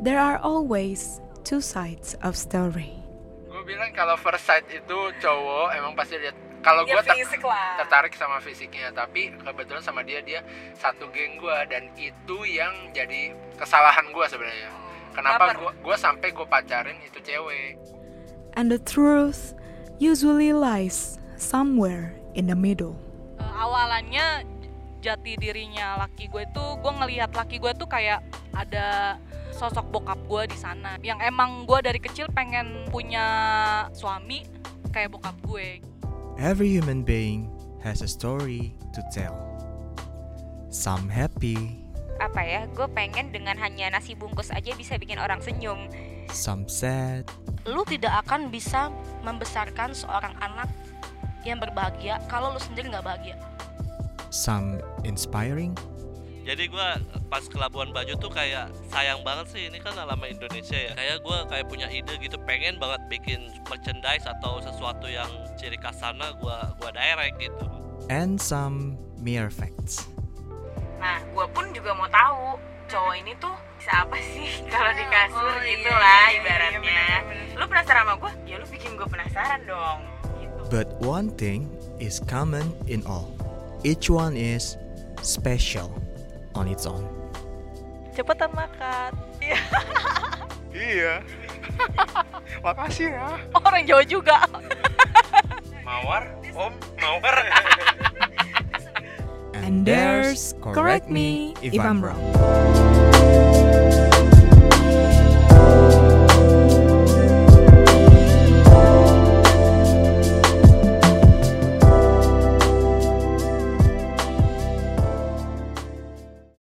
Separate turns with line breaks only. There are always two sides of story.
Gue bilang kalau first sight itu cowok emang pasti lihat kalau
Ya,
gue ter-
fisik lah.
tertarik sama fisiknya tapi kebetulan sama dia dia satu geng gue dan itu yang jadi kesalahan gue sebenarnya
Oh.
kenapa
Baper.
gue gue sampai gue pacarin itu cewek
And the truth usually lies somewhere in the middle.
Eh, awalannya jati dirinya laki gue itu gue ngelihat laki gue tuh kayak ada sosok bokap gue di sana yang emang gue dari kecil pengen punya suami kayak bokap gue
Every human being has a story to tell. Some happy,
apa ya
Eh,
gue pengen dengan hanya nasi bungkus aja bisa bikin orang senyum
some sad,
lu tidak akan bisa membesarkan seorang anak yang berbahagia kalau lu sendiri nggak bahagia.
some inspiring,
jadi gue pas ke Labuan Bajo tuh kayak sayang banget sih ini kan lama Indonesia ya kayak gue kayak punya ide gitu pengen banget bikin merchandise atau sesuatu yang ciri khas sana gue gua direct gitu
and some mere facts.
Nah, gue pun juga mau tahu cowok ini tuh bisa apa sih kalau di kasur
Oh, iya,
gitu lah
iya, iya,
ibaratnya.
benar,
lu penasaran sama gue? Ya lu bikin gue penasaran dong. Gitu.
But one thing is common in all. Each one is special on its own.
cepetan makan
iya makasih ya
Oh, orang Jawa juga
mawar om mawar
And there's correct me if I'm wrong.